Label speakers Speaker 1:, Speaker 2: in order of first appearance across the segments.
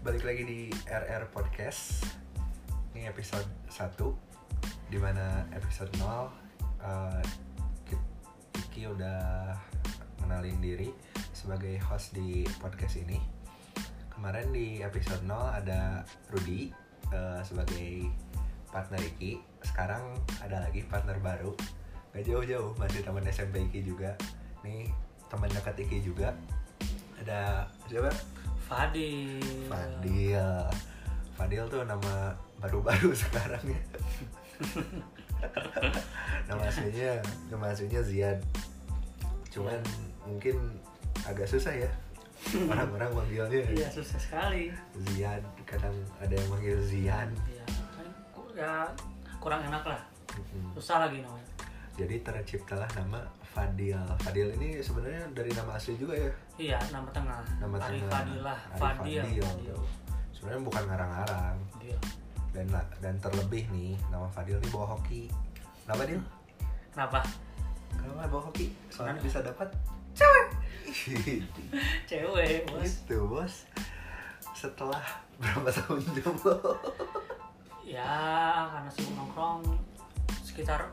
Speaker 1: balik lagi di RR Podcast Ini episode 1 Dimana episode 0 eh, Ki- Kiki udah mengenalin diri sebagai host di podcast ini Kemarin di episode 0 ada Rudi eh, sebagai partner Iki Sekarang ada lagi partner baru Gak jauh-jauh, masih teman SMP Iki juga Nih teman dekat Iki juga Ada siapa?
Speaker 2: Fadil.
Speaker 1: Fadil. Fadil tuh nama baru-baru sekarang ya. nama aslinya, nama aslinya Ziad. Cuman mungkin agak susah ya. Orang-orang manggilnya
Speaker 2: Iya susah sekali.
Speaker 1: Ziad, kadang ada yang manggil Zian.
Speaker 2: Iya. kan ku- Ya kurang enak lah.
Speaker 1: Mm-mm.
Speaker 2: Susah lagi namanya.
Speaker 1: Jadi terciptalah nama Fadil. Fadil ini sebenarnya dari nama asli juga ya.
Speaker 2: Iya nama tengah.
Speaker 1: Nama
Speaker 2: Arif
Speaker 1: tengah.
Speaker 2: Fadil lah.
Speaker 1: Arif
Speaker 2: Fadil.
Speaker 1: Fadil. gitu. Sebenarnya bukan ngarang-ngarang.
Speaker 2: Iya.
Speaker 1: dan dan terlebih nih nama Fadil nih bawa hoki kenapa Dil?
Speaker 2: Kenapa?
Speaker 1: kenapa bawa hoki soalnya bisa dapat cewek
Speaker 2: Cewek bos.
Speaker 1: itu Gitu, bos setelah berapa tahun jomblo Iya.
Speaker 2: Ya karena sibuk nongkrong sekitar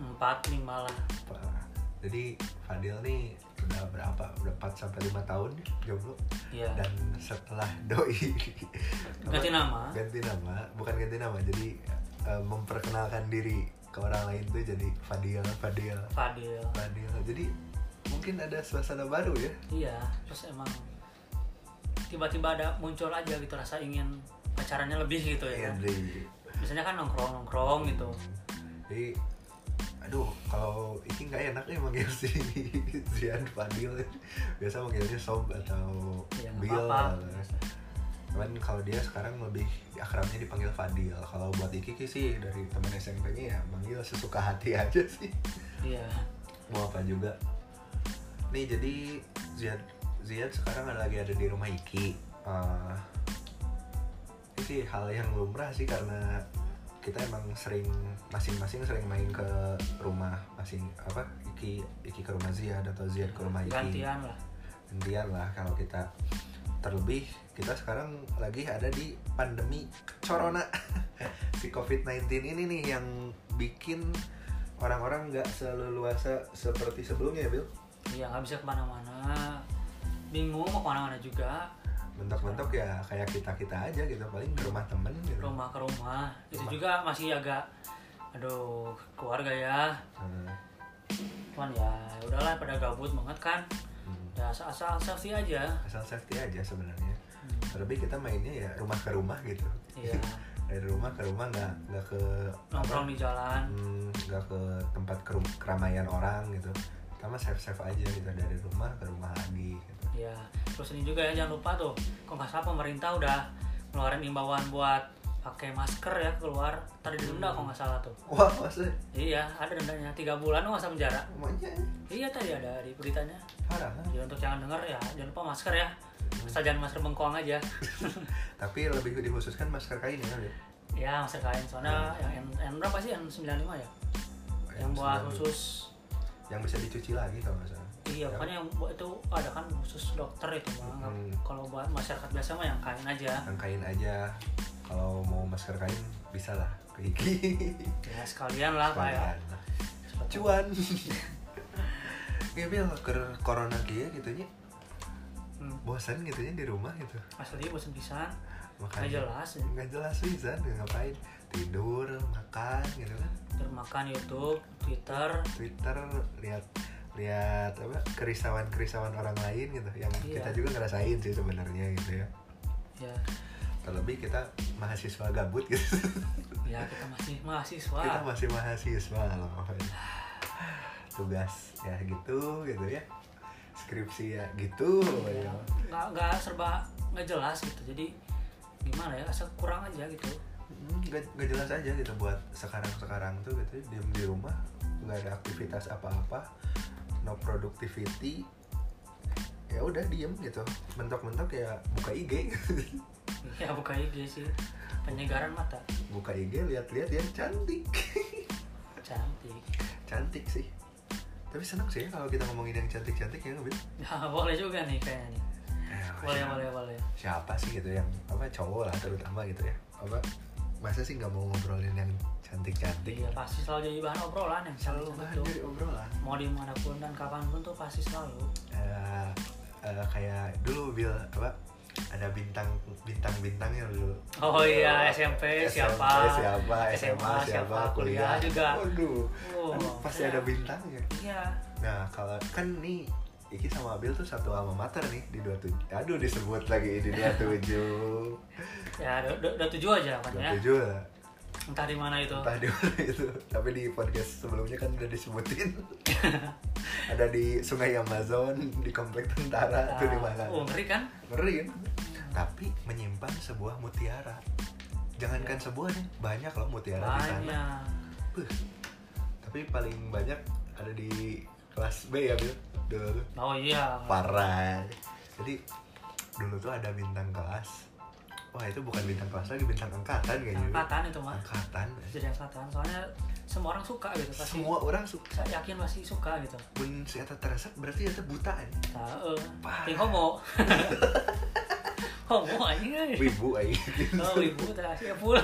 Speaker 2: empat lima lah.
Speaker 1: Parah. jadi Fadil nih udah berapa udah 4 sampai 5 tahun ya jomblo
Speaker 2: Iya.
Speaker 1: dan setelah doi apa-
Speaker 2: Ganti nama.
Speaker 1: ganti nama bukan ganti nama jadi eh, memperkenalkan diri ke orang lain tuh jadi Fadil Fadil
Speaker 2: Fadil.
Speaker 1: Fadil jadi mungkin ada suasana baru ya
Speaker 2: Iya. Terus emang tiba-tiba ada muncul aja gitu rasa ingin pacarannya lebih gitu
Speaker 1: Iya,
Speaker 2: ya. kan.
Speaker 1: Dri.
Speaker 2: Biasanya kan nongkrong nongkrong gitu.
Speaker 1: Jadi aduh kalau ini nggak enak ya manggil si Zian Fadil biasa manggilnya Sob atau
Speaker 2: Ya, nggak
Speaker 1: Bill
Speaker 2: apa-apa.
Speaker 1: cuman kalau dia sekarang lebih akrabnya dipanggil Fadil kalau buat Iki Iki sih dari teman SMP-nya ya manggil sesuka hati aja sih
Speaker 2: Iya.
Speaker 1: mau apa juga nih jadi Ziad Ziad sekarang ada- lagi ada di rumah Iki Eh, ini sih hal yang lumrah sih karena kita emang sering masing-masing sering main ke rumah masing apa Iki Iki ke rumah Ziad atau Ziad ke rumah Iki
Speaker 2: Gantian lah.
Speaker 1: gantian lah kalau kita terlebih kita sekarang lagi ada di pandemi corona si covid-19 ini nih yang bikin orang-orang nggak selalu luasa seperti sebelumnya ya Bill
Speaker 2: Iya nggak bisa kemana-mana bingung mau kemana-mana juga
Speaker 1: mentok-mentok ya kayak kita kita aja gitu paling ke rumah temen gitu
Speaker 2: rumah ke rumah itu
Speaker 1: Rumah.
Speaker 2: juga masih agak aduh keluarga ya
Speaker 1: Nah,
Speaker 2: cuman ya udahlah pada gabut banget kan
Speaker 1: hmm.
Speaker 2: ya asal asal aja
Speaker 1: asal safety aja sebenarnya
Speaker 2: Hmm,
Speaker 1: terlebih kita mainnya ya rumah ke rumah gitu
Speaker 2: iya
Speaker 1: dari rumah ke rumah nggak nggak ke apa,
Speaker 2: nongkrong di jalan
Speaker 1: Hmm, nggak ke tempat kerum- keramaian orang gitu pertama safe safe aja gitu dari rumah ke rumah lagi gitu.
Speaker 2: ya terus ini juga ya jangan lupa tuh kok nggak salah pemerintah udah ngeluarin imbauan buat pakai masker ya keluar tadi denda
Speaker 1: Hmm.
Speaker 2: kok nggak salah tuh
Speaker 1: wah maksudnya
Speaker 2: iya ada dendanya tiga bulan nggak usah penjara
Speaker 1: semuanya
Speaker 2: iya tadi ada di beritanya
Speaker 1: parah kan?
Speaker 2: Ya untuk jangan denger ya, jangan lupa masker ya. Asal jangan masker bengkoang aja.
Speaker 1: tapi lebih dikhususkan masker kain ya Beb?
Speaker 2: ya masker kain soalnya yang N, N berapa sih? N95 ya? yang buat
Speaker 1: sebenarnya-
Speaker 2: khusus
Speaker 1: yang bisa dicuci lagi kalau nggak salah Ya.
Speaker 2: Iya, pokoknya yang buat itu ada kan khusus dokter itu mah. Nggak-
Speaker 1: Hmm.
Speaker 2: Kalau buat masyarakat biasa mah yang kain aja.
Speaker 1: yang kain aja kalau mau masker kain bisa lah ke gigi
Speaker 2: Ya sekalian lah Pak ya.
Speaker 1: Sekalian lah. cuan Gak bil, ker- corona kia gitunya
Speaker 2: Hmm.
Speaker 1: bosan gitunya di rumah gitu
Speaker 2: Asli bosan pisan, nggak
Speaker 1: makanya
Speaker 2: jelas. ya.
Speaker 1: nggak jelas bisa deh, ngapain tidur makan gitu kan
Speaker 2: Termakan YouTube, Twitter,
Speaker 1: Twitter lihat lihat apa kerisauan kerisauan orang lain gitu yang
Speaker 2: Iya.
Speaker 1: kita juga ngerasain sih sebenarnya gitu ya
Speaker 2: ya.
Speaker 1: terlebih kita mahasiswa gabut gitu
Speaker 2: Ya kita masih mahasiswa.
Speaker 1: kita masih mahasiswa loh tugas ya gitu gitu ya skripsi ya gitu
Speaker 2: Ya,
Speaker 1: ya.
Speaker 2: nggak nggak serba nggak jelas gitu. Jadi gimana ya? Asal kurang aja gitu.
Speaker 1: Hmm, nggak nggak jelas aja gitu buat sekarang sekarang tuh gitu diem di rumah nggak ada aktivitas apa-apa no productivity ya udah diem gitu mentok-mentok ya buka IG
Speaker 2: Ya buka IG sih Penyegaran mata
Speaker 1: buka IG lihat-lihat ya cantik
Speaker 2: Cantik
Speaker 1: cantik sih tapi seneng sih ya kalau kita ngomongin yang cantik-cantik ya nggak, Bin?
Speaker 2: Ya boleh juga Nah, nih kayaknya nih
Speaker 1: Eh,
Speaker 2: Eh, boleh boleh boleh
Speaker 1: siapa sih gitu yang apa cowok lah terutama gitu ya apa masa sih nggak mau ngobrolin yang cantik cantik
Speaker 2: iya pasti selalu jadi bahan obrolan yang
Speaker 1: selalu
Speaker 2: selalu
Speaker 1: bahan
Speaker 2: betul
Speaker 1: dari obrolan
Speaker 2: mau dimanapun dan kapanpun tuh pasti selalu
Speaker 1: Eh, eh, kayak dulu Bill apa ada bintang bintang bintangnya dulu
Speaker 2: Oh
Speaker 1: Eh,
Speaker 2: iya, SMP siapa,
Speaker 1: siapa SMA
Speaker 2: SMA
Speaker 1: siapa
Speaker 2: siapa, kuliah juga.
Speaker 1: waduh
Speaker 2: Oh,
Speaker 1: kan pasti
Speaker 2: iya.
Speaker 1: ada bintangnya
Speaker 2: iya
Speaker 1: nah kalau kan nih Iki sama Bill tuh satu alma mater nih di 27 aduh disebut lagi di 27
Speaker 2: ya udah- udah udah tujuh aja kan ya
Speaker 1: 27 lah
Speaker 2: entah di mana itu
Speaker 1: entah di mana itu tapi di podcast sebelumnya kan udah disebutin ada di sungai Amazon di komplek tentara itu di mana
Speaker 2: oh ngeri kan
Speaker 1: ngeri kan? tapi menyimpan sebuah mutiara jangankan sebuah nih banyak loh mutiara di sana
Speaker 2: Iya. banyak
Speaker 1: Beuh. tapi paling banyak ada di kelas B ya Bil dulu
Speaker 2: oh iya
Speaker 1: parah jadi dulu tuh ada bintang kelas wah itu bukan bintang kelas lagi bintang angkatan kayaknya Bil.
Speaker 2: angkatan itu mah
Speaker 1: angkatan
Speaker 2: jadi angkatan soalnya semua orang suka gitu pasti
Speaker 1: semua orang suka
Speaker 2: saya yakin pasti suka gitu
Speaker 1: pun si eta teresep berarti eta buta ya
Speaker 2: nah, eh,
Speaker 1: Parah.
Speaker 2: ting homo homo anjing
Speaker 1: wibu aja
Speaker 2: oh ibu terakhir full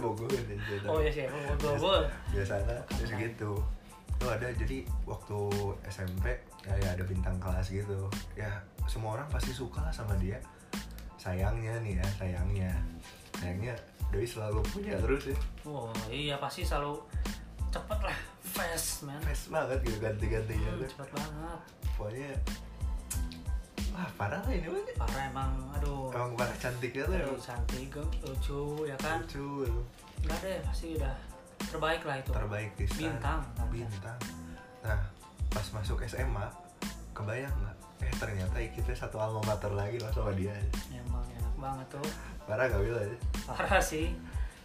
Speaker 1: bogor dan cerita
Speaker 2: oh iya sih full global
Speaker 1: biasanya terus gitu itu ada jadi waktu SMP kayak ya, ada bintang kelas gitu ya semua orang pasti suka lah sama dia sayangnya nih ya sayangnya sayangnya Doi selalu punya terus ya
Speaker 2: oh iya pasti selalu cepet lah fast man
Speaker 1: fast banget gitu ganti-gantinya
Speaker 2: Hmm,
Speaker 1: tuh.
Speaker 2: cepet banget
Speaker 1: pokoknya wah parah lah ini mah
Speaker 2: parah emang aduh
Speaker 1: emang parah cantiknya tuh
Speaker 2: dari
Speaker 1: emang
Speaker 2: cantik lucu ya kan
Speaker 1: lucu
Speaker 2: Enggak deh, pasti udah terbaik lah itu.
Speaker 1: terbaik di sana.
Speaker 2: Bintang.
Speaker 1: bintang nah pas masuk SMA kebayang nggak eh ternyata kita satu alma mater lagi loh sama dia
Speaker 2: Emang enak banget tuh.
Speaker 1: parah gak Wil?
Speaker 2: Parah sih.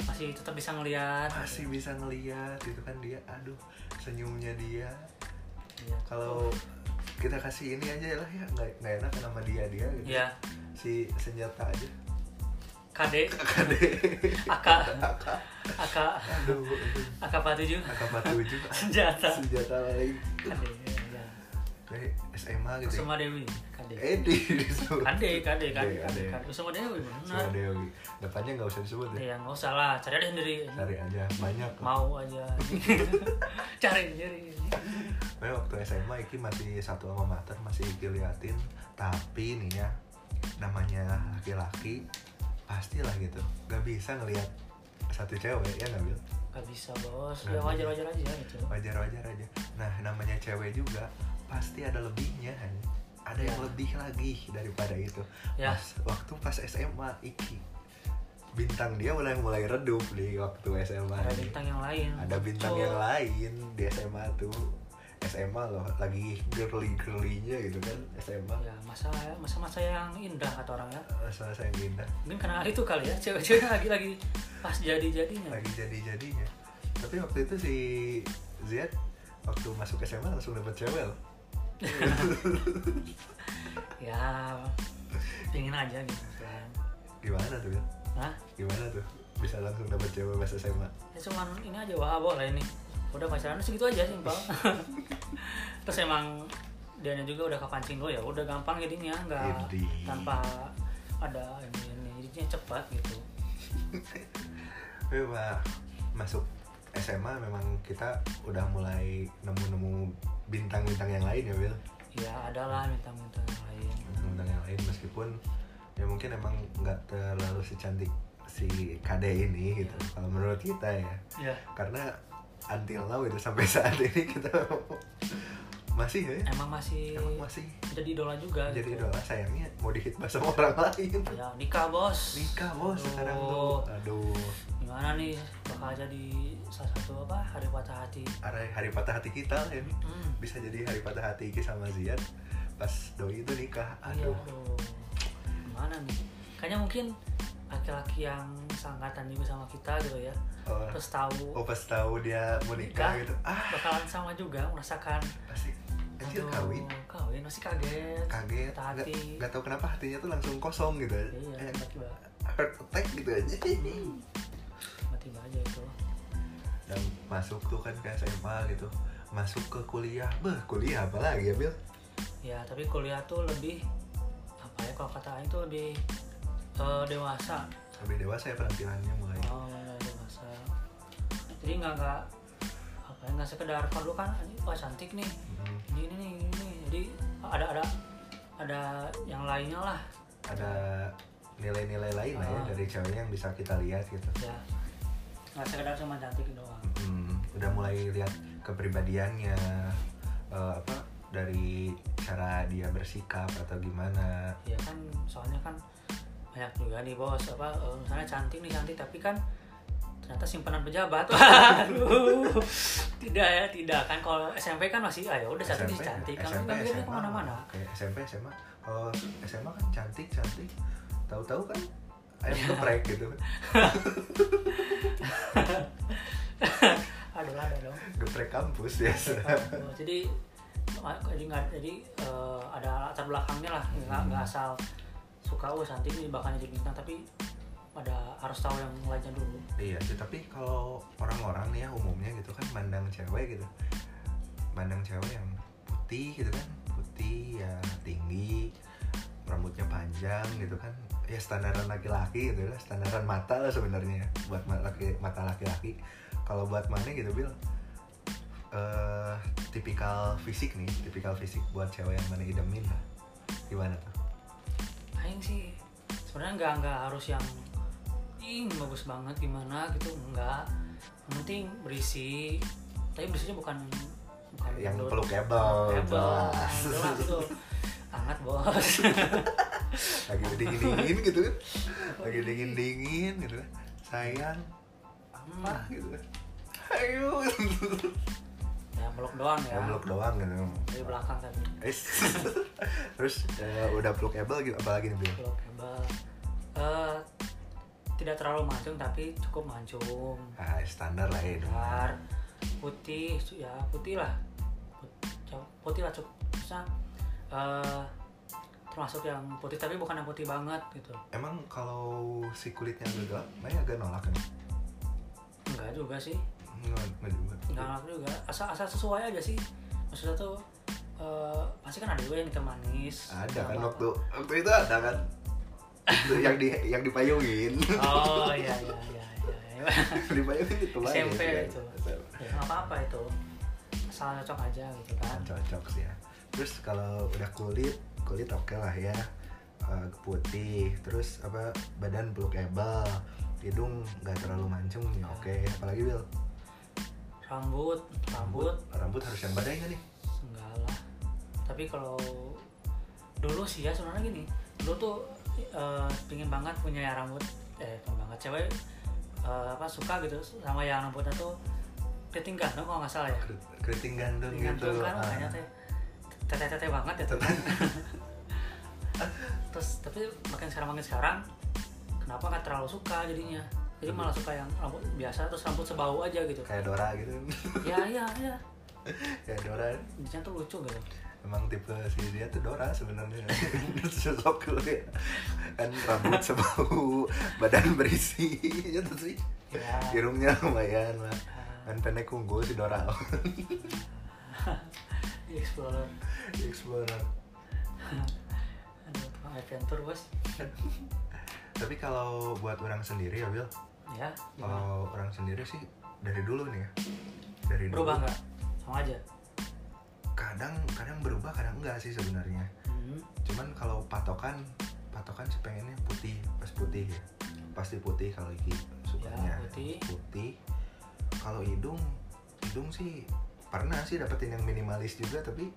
Speaker 2: Masih tetap bisa ngelihat.
Speaker 1: masih bisa ngeliat gitu kan dia aduh senyumnya dia
Speaker 2: Iya.
Speaker 1: kalau kita kasih ini aja lah ya nggak nggak enak sama dia dia gitu
Speaker 2: Iya.
Speaker 1: si senjata aja
Speaker 2: KD,
Speaker 1: kade
Speaker 2: AK, AK,
Speaker 1: aduh
Speaker 2: AK 47
Speaker 1: akp tujuh
Speaker 2: senjata.
Speaker 1: senjata lain
Speaker 2: KD. iya.
Speaker 1: dari SMA gitu ya. Eh.
Speaker 2: Kusuma Dewi, KD.
Speaker 1: Edi disuruh
Speaker 2: KD, KD, KD,
Speaker 1: Iya,
Speaker 2: KD.
Speaker 1: iya.
Speaker 2: Kusuma Dewi
Speaker 1: Sama
Speaker 2: benar.
Speaker 1: Dewi. Depannya nggak usah disebut ya.
Speaker 2: Iya, nggak usah lah, cari aja sendiri.
Speaker 1: Cari aja banyak.
Speaker 2: Mau aja. cari sendiri.
Speaker 1: Gue waktu SMA Iki masih satu alma mater masih Iki liatin. Tapi nih ya namanya laki-laki pastilah gitu. Gak bisa ngelihat satu cewek ya nggak Bil?
Speaker 2: Gak bisa bos,
Speaker 1: Nggak
Speaker 2: ya
Speaker 1: bisa.
Speaker 2: wajar-wajar aja gitu.
Speaker 1: Wajar-wajar aja. Nah namanya cewek juga pasti ada lebihnya. Han. Ada yang lebih lagi daripada itu.
Speaker 2: Ya.
Speaker 1: Pas, waktu pas SMA Iki bintang dia mulai mulai redup di waktu SMA.
Speaker 2: Ada
Speaker 1: nih.
Speaker 2: bintang yang lain.
Speaker 1: ada bintang
Speaker 2: Betul.
Speaker 1: yang lain di SMA tuh SMA loh lagi girly girlynya gitu kan SMA
Speaker 2: ya masa masa masa yang indah kata orang ya
Speaker 1: asal saya Eh, pindah
Speaker 2: mungkin karena itu kali ya cewek-cewek lagi lagi pas jadi jadinya
Speaker 1: lagi jadi jadinya tapi waktu itu si Ziad waktu masuk SMA langsung dapet cewek loh.
Speaker 2: ya pingin aja gitu kan
Speaker 1: gimana tuh Bil?
Speaker 2: nah
Speaker 1: gimana tuh bisa langsung dapet cewek pas SMA
Speaker 2: ya cuman ini aja wah boleh ini udah pacaran segitu aja simpel terus emang dianya juga udah kepancing lo ya udah gampang jadinya nggak
Speaker 1: Jadi.
Speaker 2: tanpa ada ini ini jadinya cepat gitu
Speaker 1: memang masuk SMA memang kita udah mulai nemu-nemu bintang-bintang yang lain ya Bil
Speaker 2: ya adalah minta-minta yang lain
Speaker 1: undang yang lain meskipun ya mungkin emang nggak terlalu secantik si KD ini gitu
Speaker 2: Iya.
Speaker 1: kalau menurut kita ya
Speaker 2: ya
Speaker 1: karena until now itu sampai saat ini kita masih ya
Speaker 2: emang masih
Speaker 1: emang masih
Speaker 2: jadi idola juga
Speaker 1: jadi
Speaker 2: gitu.
Speaker 1: idola sayangnya mau dihit sama orang lain
Speaker 2: ya nikah bos Gitu.
Speaker 1: nikah bos sekarang tuh aduh
Speaker 2: gimana nih bakal jadi salah satu apa hari patah hati
Speaker 1: hari, hari patah hati kita lah ya
Speaker 2: hmm.
Speaker 1: bisa jadi hari patah hati Iki sama Zian pas doi itu nikah
Speaker 2: iya,
Speaker 1: aduh
Speaker 2: aduh. gimana nih kayaknya mungkin laki-laki yang seangkatan juga sama kita gitu ya
Speaker 1: oh,
Speaker 2: terus tahu
Speaker 1: oh pas tahu dia mau nikah
Speaker 2: Nikah.
Speaker 1: gitu ah
Speaker 2: bakalan sama juga merasakan
Speaker 1: pasti anjir
Speaker 2: aduh,
Speaker 1: kawin
Speaker 2: kawin masih kaget
Speaker 1: kaget
Speaker 2: Patah hati.
Speaker 1: nggak- nggak tahu kenapa hatinya tuh langsung kosong gitu
Speaker 2: iya
Speaker 1: Eh,
Speaker 2: tiba-tiba
Speaker 1: heart attack gitu aja
Speaker 2: Hmm. tiba-tiba aja itu
Speaker 1: dan masuk tuh kan ke SMA gitu masuk ke kuliah beh kuliah apa lagi ya Bil
Speaker 2: ya tapi kuliah tuh lebih apa ya kalau kata Aing tuh lebih eh, dewasa
Speaker 1: lebih dewasa ya penampilannya mulai
Speaker 2: oh mulai dewasa jadi nggak nggak apa ya nggak sekedar kalau dulu kan ini wah cantik nih
Speaker 1: Mhm.
Speaker 2: ini ini ini, ini. jadi ada ada ada yang lainnya lah
Speaker 1: ada nilai-nilai lain lah ya
Speaker 2: Ah.
Speaker 1: dari ceweknya yang bisa kita lihat gitu
Speaker 2: ya nggak sekedar cuma cantik doang
Speaker 1: Hmm, udah mulai lihat kepribadiannya eh, apa dari cara dia bersikap atau gimana
Speaker 2: ya kan soalnya kan banyak juga nih bos apa eh, misalnya cantik nih cantik tapi kan ternyata simpanan pejabat Aduh. tidak ya tidak kan kalau SMP kan masih ayo udah cantik
Speaker 1: SMP,
Speaker 2: cantik kan
Speaker 1: SMP,
Speaker 2: nggak bisa
Speaker 1: SMA,
Speaker 2: kemana-mana
Speaker 1: kayak SMP SMA kalau SMA kan cantik cantik tahu-tahu kan ayam geprek gitu
Speaker 2: ada ada dong
Speaker 1: geprek kampus ya
Speaker 2: Oh, jadi jadi nggak jadi eh, ada latar belakangnya lah nggak
Speaker 1: Hmm.
Speaker 2: nggak asal suka oh cantik nih bakal jadi bintang tapi ada harus tahu yang lainnya dulu
Speaker 1: iya sih tapi kalau orang-orang nih ya umumnya gitu kan mandang cewek gitu mandang cewek yang putih gitu kan putih ya tinggi rambutnya panjang gitu kan ya standaran laki-laki gitu lah standaran mata lah sebenarnya ya, buat ma- laki- mata laki-laki kalau buat mana gitu bil eh tipikal fisik nih tipikal fisik buat cewek yang mana idamin lah gimana tuh
Speaker 2: Aing sih sebenarnya nggak nggak harus yang ing bagus banget gimana gitu enggak yang penting berisi tapi berisinya bukan bukan Eh,
Speaker 1: yang
Speaker 2: perlu-
Speaker 1: pelukable
Speaker 2: jelas
Speaker 1: jelas.
Speaker 2: jelas itu hangat bos
Speaker 1: lagi dingin dingin gitu kan lagi dingin dingin gitu kan sayang apa gitu kan ayo
Speaker 2: ya peluk doang ya
Speaker 1: ya peluk doang gitu
Speaker 2: dari belakang tadi
Speaker 1: Is. terus eh, udah pelukable gitu apalagi nih Bil?
Speaker 2: peluk hebel Eh, tidak terlalu mancung tapi cukup mancung
Speaker 1: ah, standar lah ya dong.
Speaker 2: Luar, putih su- ya putih lah Put- cu- putih lah cukup bisa eh, termasuk yang putih tapi bukan yang putih banget gitu
Speaker 1: emang kalau si kulitnya agak gelap Maya agak nolak kan
Speaker 2: enggak juga sih
Speaker 1: nggak nggak juga
Speaker 2: enggak nolak juga asal asal sesuai aja sih maksudnya tuh eh, pasti kan ada juga yang hitam manis
Speaker 1: ada
Speaker 2: Nggak
Speaker 1: kan
Speaker 2: apa-apa.
Speaker 1: waktu waktu itu ada kan Itu yang di yang dipayungin
Speaker 2: oh iya iya iya iya
Speaker 1: dipayungin itu aja
Speaker 2: SMP
Speaker 1: gitu
Speaker 2: itu
Speaker 1: kan.
Speaker 2: ya, nggak apa-apa itu asal cocok aja gitu kan
Speaker 1: Kan cocok sih ya terus kalau udah kulit kulit oke lah ya Eh, putih terus apa badan pelukable hidung nggak terlalu mancung ya oke apalagi Will
Speaker 2: rambut rambut
Speaker 1: rambut harus yang badai nggak nih
Speaker 2: Enggak lah. Tapi kalau dulu sih ya sebenarnya gini, dulu tuh eh, pingin banget punya rambut eh pingin banget cewek eh, apa suka gitu sama yang rambutnya tuh keriting gandong kalau nggak salah ya.
Speaker 1: Keri- keriting gandung
Speaker 2: Keriting
Speaker 1: gitu
Speaker 2: gandong kan
Speaker 1: Ah.
Speaker 2: makanya teh teteh-teteh banget ya tuh. Terus tapi makin sekarang makin sekarang kenapa nggak terlalu suka jadinya? Jadi malah suka yang rambut biasa terus rambut sebau aja gitu.
Speaker 1: Hmm. kayak Dora gitu
Speaker 2: ya iya iya.
Speaker 1: kayak Dora
Speaker 2: Jadinya tuh lucu gitu.
Speaker 1: emang tipe si dia tuh Dora sebenarnya sosok kulit kan rambut sebau badan berisi gitu sih
Speaker 2: Ya. Ah,
Speaker 1: hidungnya lumayan lah kan pendek unggul si Dora
Speaker 2: Di iya, Explorer.
Speaker 1: Explorer
Speaker 2: Aduh, tukang adventure bos.
Speaker 1: tapi kalau buat orang sendiri ya Bill
Speaker 2: Ya. gimana?
Speaker 1: kalau orang sendiri sih dari dulu nih ya dari dulu
Speaker 2: Berubah nggak? Sama aja.
Speaker 1: kadang kadang berubah kadang enggak sih sebenarnya
Speaker 2: Hmm.
Speaker 1: cuman kalau patokan patokan sih pengennya putih pas putih ya pasti putih kalau iki sukanya
Speaker 2: Ya, putih.
Speaker 1: Putih. kalau hidung hidung sih pernah sih dapetin yang minimalis juga tapi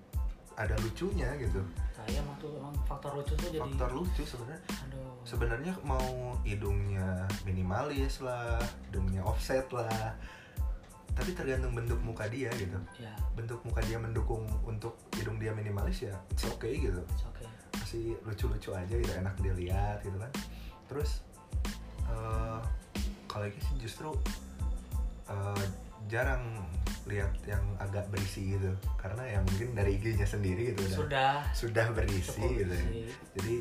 Speaker 1: ada lucunya gitu
Speaker 2: Saya emang tuh emang faktor lucu tuh jadi.
Speaker 1: faktor lucu sebenarnya
Speaker 2: Aduh.
Speaker 1: sebenarnya mau hidungnya minimalis lah hidungnya offset lah tapi tergantung bentuk muka dia gitu
Speaker 2: Ya.
Speaker 1: bentuk muka dia mendukung untuk hidung dia minimalis ya it's okay gitu
Speaker 2: it's okay.
Speaker 1: masih lucu-lucu aja gitu enak dilihat gitu kan terus eh kalau ini sih justru eh, jarang lihat yang agak berisi gitu karena ya mungkin dari IG-nya sendiri gitu udah
Speaker 2: Sudah.
Speaker 1: sudah berisi gitu
Speaker 2: Cukup
Speaker 1: ya.
Speaker 2: berisi.
Speaker 1: jadi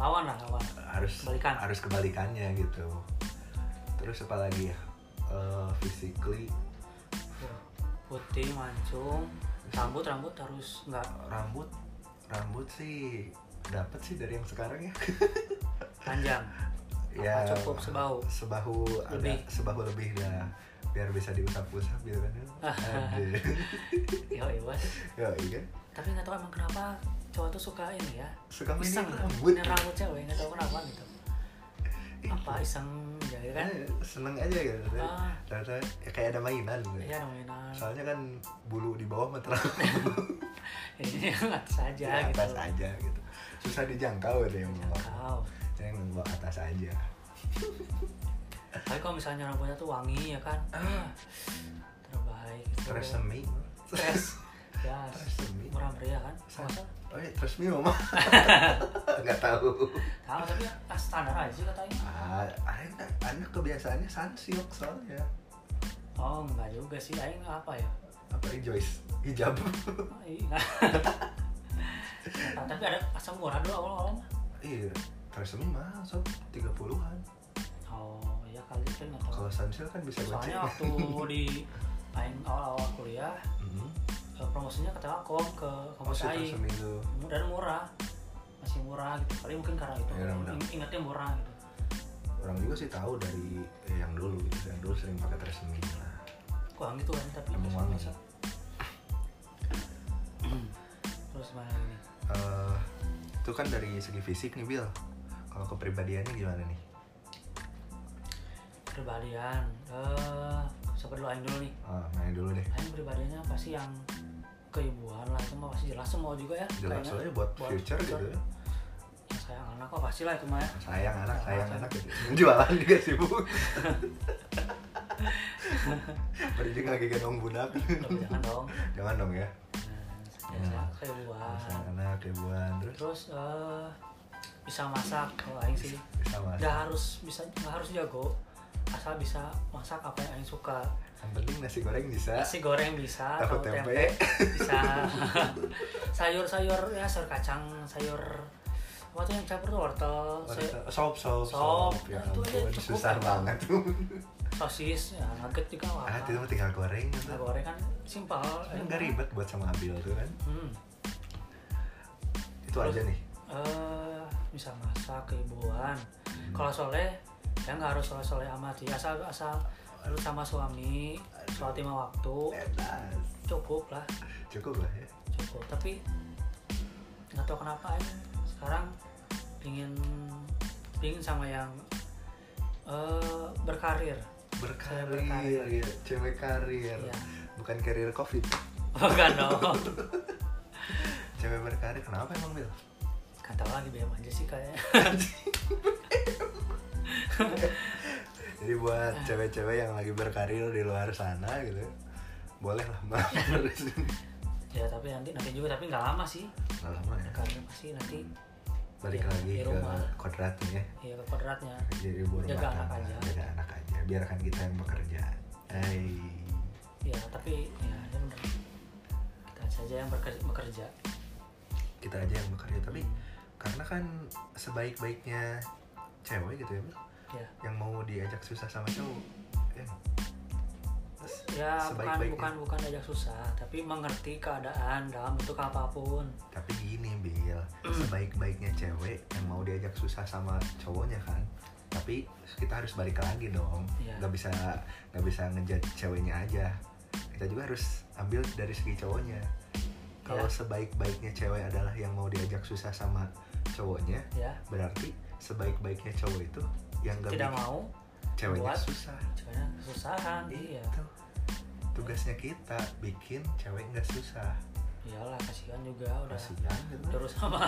Speaker 2: Lawan lah lawan.
Speaker 1: harus
Speaker 2: Kebalikan.
Speaker 1: harus kebalikannya gitu terus apalagi ya Eh, physically
Speaker 2: Tuh. Putih mancung. Rambut rambut harus nggak
Speaker 1: rambut rambut sih dapet sih dari yang sekarang ya
Speaker 2: panjang
Speaker 1: ya
Speaker 2: apa cukup sebahu
Speaker 1: sebahu
Speaker 2: Lebih.
Speaker 1: ada sebahu lebih dah biar bisa diusap-usap gitu kan Aduh.
Speaker 2: ya bos
Speaker 1: ya iya
Speaker 2: tapi nggak tahu emang kenapa cowok tuh suka ini ya
Speaker 1: suka
Speaker 2: iseng
Speaker 1: mainin
Speaker 2: gitu.
Speaker 1: rambut
Speaker 2: Ini rambut cewek nggak tahu kenapa gitu
Speaker 1: Ih,
Speaker 2: apa iseng ya gitu kan
Speaker 1: eh, seneng aja gitu
Speaker 2: Ah.
Speaker 1: ternyata ya kayak ada mainan gitu.
Speaker 2: ya nominal
Speaker 1: soalnya kan bulu di bawah mah terlalu
Speaker 2: ini yang atas aja
Speaker 1: di
Speaker 2: Iya, gitu
Speaker 1: atas Iya, aja gitu susah dijangkau deh yang bawah
Speaker 2: Jangkau.
Speaker 1: yang bawah atas aja
Speaker 2: tapi kalau misalnya rambutnya tuh wangi ya kan ah, terbaik gitu.
Speaker 1: terus semi
Speaker 2: Stress. ya
Speaker 1: Stress semi.
Speaker 2: murah meriah kan masa
Speaker 1: Sa- oh iya terus mi mama nggak tahu
Speaker 2: tahu tapi ah, standar aja sih katanya
Speaker 1: ah aing aing kebiasaannya sunsilk soalnya
Speaker 2: oh enggak juga sih aing apa ya
Speaker 1: apa rejoice hijab
Speaker 2: Ah, iya. Nah, tapi ada asam murah dulu awal-awal mah
Speaker 1: iya terus mi mah sob tiga puluhan
Speaker 2: oh ya kali itu nggak tahu
Speaker 1: kalau sunsilk kan bisa
Speaker 2: soalnya
Speaker 1: goceng
Speaker 2: waktu di aing awal-awal kuliah
Speaker 1: Mhm.
Speaker 2: eh, promosinya ke Telkom ke
Speaker 1: oh
Speaker 2: kampus
Speaker 1: sih terus
Speaker 2: aing
Speaker 1: mi itu
Speaker 2: dan murah masih murah gitu kali mungkin karena itu
Speaker 1: Ya, mudah.
Speaker 2: ing- ingetnya murah gitu
Speaker 1: orang juga sih tahu dari eh, yang dulu gitu yang dulu sering pakai terus mi lah
Speaker 2: kurang gitu kan tapi
Speaker 1: Emang wangi.
Speaker 2: terus- terus mana ini
Speaker 1: Eh, itu kan dari segi fisik nih Bill kalau kepribadiannya gimana nih
Speaker 2: kepribadian eh siapa dulu Aing dulu nih
Speaker 1: Ah, nanya dulu deh
Speaker 2: Aing pribadiannya pasti yang keibuan lah itu mah pasti jelas semua juga ya
Speaker 1: jelas
Speaker 2: kayaknya.
Speaker 1: soalnya buat,
Speaker 2: Buat
Speaker 1: future, gitu
Speaker 2: future.
Speaker 1: ya. Nah,
Speaker 2: Ya, sayang anak kok pasti lah itu mah ya
Speaker 1: sayang anak
Speaker 2: Sayang
Speaker 1: sayang
Speaker 2: anak.
Speaker 1: anak gitu jualan juga sibuk Berjing lagi gendong budak
Speaker 2: Udah, jangan dong
Speaker 1: jangan dong ya
Speaker 2: nah, ya,
Speaker 1: Ya.
Speaker 2: sayang keibuan
Speaker 1: sayang anak ribuan terus
Speaker 2: terus eh bisa masak kalau Aing sih
Speaker 1: sama
Speaker 2: nggak harus bisa nggak harus jago asal bisa masak apa yang Aing suka
Speaker 1: yang penting nasi goreng bisa
Speaker 2: nasi goreng bisa
Speaker 1: tahu
Speaker 2: tahu
Speaker 1: tempe
Speaker 2: bisa sayur-sayur ya sayur kacang sayur apa tuh yang campur tuh wortel sayur,
Speaker 1: sop sop
Speaker 2: Sop.
Speaker 1: sop ya
Speaker 2: Itu aja
Speaker 1: ampun
Speaker 2: cukup.
Speaker 1: susah banget tuh
Speaker 2: sosis ya nugget juga apa
Speaker 1: ah itu mah tinggal goreng
Speaker 2: Nasi
Speaker 1: gitu
Speaker 2: goreng kan simpel
Speaker 1: Kan nggak ribet buat sama Abil tuh kan
Speaker 2: hmm.
Speaker 1: itu aja nih
Speaker 2: Eh, bisa masak keibuan kalau soleh ya nggak harus soleh soleh amat sih asal asal lu sama suami sholat lima waktu
Speaker 1: enak
Speaker 2: cukup lah
Speaker 1: cukup lah ya
Speaker 2: cukup tapi nggak tahu kenapa aja sekarang pingin pingin sama yang eh, berkarir
Speaker 1: berkarir ya cewek karir
Speaker 2: Iya.
Speaker 1: bukan karir covid
Speaker 2: bukan dong
Speaker 1: cewek berkarir kenapa emang Bil?
Speaker 2: kata lagi BM aja sih kayaknya
Speaker 1: Jadi buat
Speaker 2: Eh.
Speaker 1: cewek-cewek yang lagi berkarir di luar sana gitu, boleh lah mampir di sini.
Speaker 2: ya tapi nanti nanti juga tapi nggak lama sih
Speaker 1: Nggak lama ya.
Speaker 2: berkarir pasti nanti
Speaker 1: Balik
Speaker 2: Iya,
Speaker 1: lagi
Speaker 2: di
Speaker 1: ke
Speaker 2: rumah.
Speaker 1: kodratnya. ya.
Speaker 2: ya ke kuadratnya
Speaker 1: Jadi ibu rumah
Speaker 2: Jaga anak
Speaker 1: tangga,
Speaker 2: aja.
Speaker 1: jaga anak aja. Biarkan kita yang bekerja. Hai.
Speaker 2: ya tapi ya ya bener kita saja yang berker- bekerja
Speaker 1: Kita aja yang bekerja tapi karena kan sebaik-baiknya cewek gitu ya, Bil,
Speaker 2: ya
Speaker 1: yang mau diajak susah sama cowok. Ya. Terus
Speaker 2: ya bukan
Speaker 1: sebaik-baiknya.
Speaker 2: bukan bukan ajak susah tapi mengerti keadaan dalam bentuk apapun
Speaker 1: Tapi gini Bil, sebaik-baiknya cewek yang mau diajak susah sama cowoknya kan Tapi kita harus balik lagi dong
Speaker 2: Iya.
Speaker 1: Gak bisa gak bisa ngejat ceweknya aja Kita juga harus ambil dari segi cowoknya Kalau
Speaker 2: Iya.
Speaker 1: sebaik-baiknya cewek adalah yang mau diajak susah sama cowoknya
Speaker 2: ya
Speaker 1: Berarti sebaik-baiknya cowok itu yang gak
Speaker 2: tidak
Speaker 1: bikin
Speaker 2: mau
Speaker 1: ceweknya
Speaker 2: buat
Speaker 1: susah
Speaker 2: ceweknya kesusahan iya
Speaker 1: Itu tugasnya kita bikin cewek nggak susah
Speaker 2: iyalah kasihan juga udah
Speaker 1: Kasihan gitu
Speaker 2: terus sama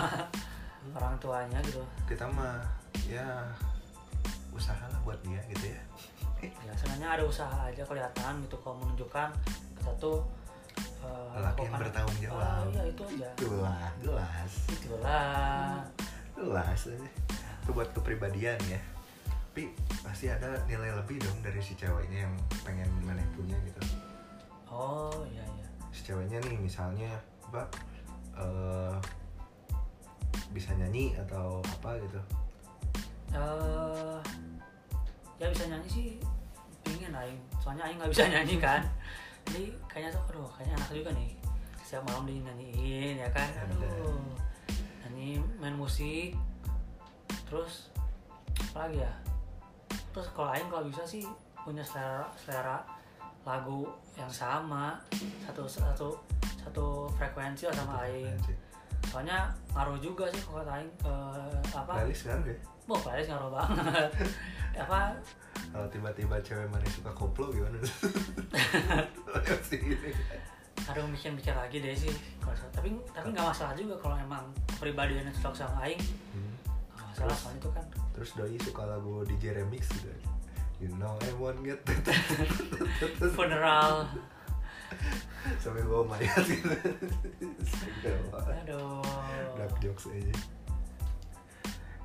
Speaker 2: orang tuanya gitu
Speaker 1: kita mah ya usahalah buat dia gitu ya
Speaker 2: ya sebenarnya ada usaha aja kelihatan gitu kalau menunjukkan kita tuh eh,
Speaker 1: Lelaki yang
Speaker 2: melakukan-
Speaker 1: bertanggung jawab.
Speaker 2: Ah, iya itu aja
Speaker 1: gelas gelas
Speaker 2: itulah
Speaker 1: gelas aja. itu buat kepribadian ya tapi pasti ada nilai lebih dong dari si ceweknya yang pengen maneh punya gitu
Speaker 2: oh iya iya
Speaker 1: si ceweknya nih misalnya apa eh, bisa nyanyi atau apa gitu
Speaker 2: eh ya bisa nyanyi sih pingin aing soalnya aing nggak bisa nyanyi kan jadi kayaknya tuh aduh kayaknya anak juga nih setiap malam dinyanyiin ya kan aduh nyanyi main musik terus apa lagi ya terus kalau Aing kalau bisa sih punya selera selera lagu yang sama satu satu satu frekuensi lah sama
Speaker 1: Nah,
Speaker 2: Aing soalnya ngaruh juga sih kalau kata Aing ke apa
Speaker 1: Playlist ngaruh ya?
Speaker 2: mau playlist ngaruh banget apa
Speaker 1: Kalau tiba-tiba cewek mana suka koplo gimana? Pasti gitu.
Speaker 2: aduh mikir-mikir lagi deh sih kalau soal- tapi tapi nggak masalah juga kalau emang kepribadiannya cocok sama Aing
Speaker 1: Hmm.
Speaker 2: nggak masalah soalnya itu kan
Speaker 1: Terus doi suka lagu DJ remix gitu. You know I won't get
Speaker 2: funeral
Speaker 1: sampai bawa mayat gitu. Sedih banget.
Speaker 2: aduh
Speaker 1: Dark jokes aja.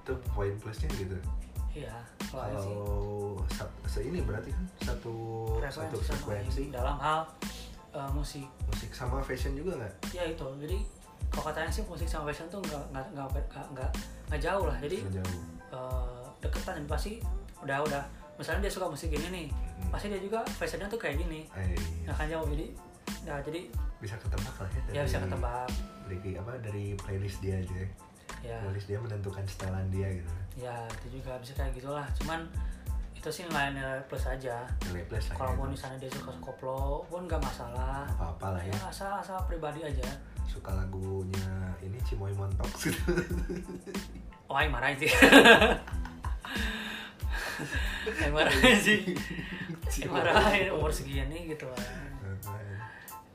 Speaker 1: Itu poin plusnya gitu.
Speaker 2: iya kalau Aing sih
Speaker 1: Kalau sa- se ini berarti kan satu satu
Speaker 2: frekuensi sama
Speaker 1: frekuensi
Speaker 2: Aing dalam hal eh, musik
Speaker 1: musik sama fashion juga nggak?
Speaker 2: ya itu jadi kalau katanya sih musik sama fashion tuh nggak nggak nggak nggak nggak nggak jauh lah jadi
Speaker 1: Jauh.
Speaker 2: eh, deketan dan pasti udah udah misalnya dia suka musik gini nih
Speaker 1: Hmm.
Speaker 2: pasti dia juga fashionnya tuh kayak gini
Speaker 1: Eh,
Speaker 2: nggak akan jauh jadi nah jadi
Speaker 1: bisa ketebak lah ya.
Speaker 2: ya
Speaker 1: dari-
Speaker 2: bisa ketebak
Speaker 1: Dari apa dari playlist dia aja. ya.
Speaker 2: ya
Speaker 1: Playlist dia menentukan setelan dia gitu.
Speaker 2: ya itu juga bisa kayak gitulah cuman itu sih nilai nilai plus aja
Speaker 1: Nilai plus lah.
Speaker 2: kalaupun
Speaker 1: ya,
Speaker 2: misalnya dia suka koplo pun nggak masalah
Speaker 1: apa apa lah
Speaker 2: ya
Speaker 1: ya.
Speaker 2: asal asal pribadi aja
Speaker 1: Suka lagunya ini Cimoy Montok gitu.
Speaker 2: oh aing marahin sih aing marahin sih aing marahin umur segini gitu lah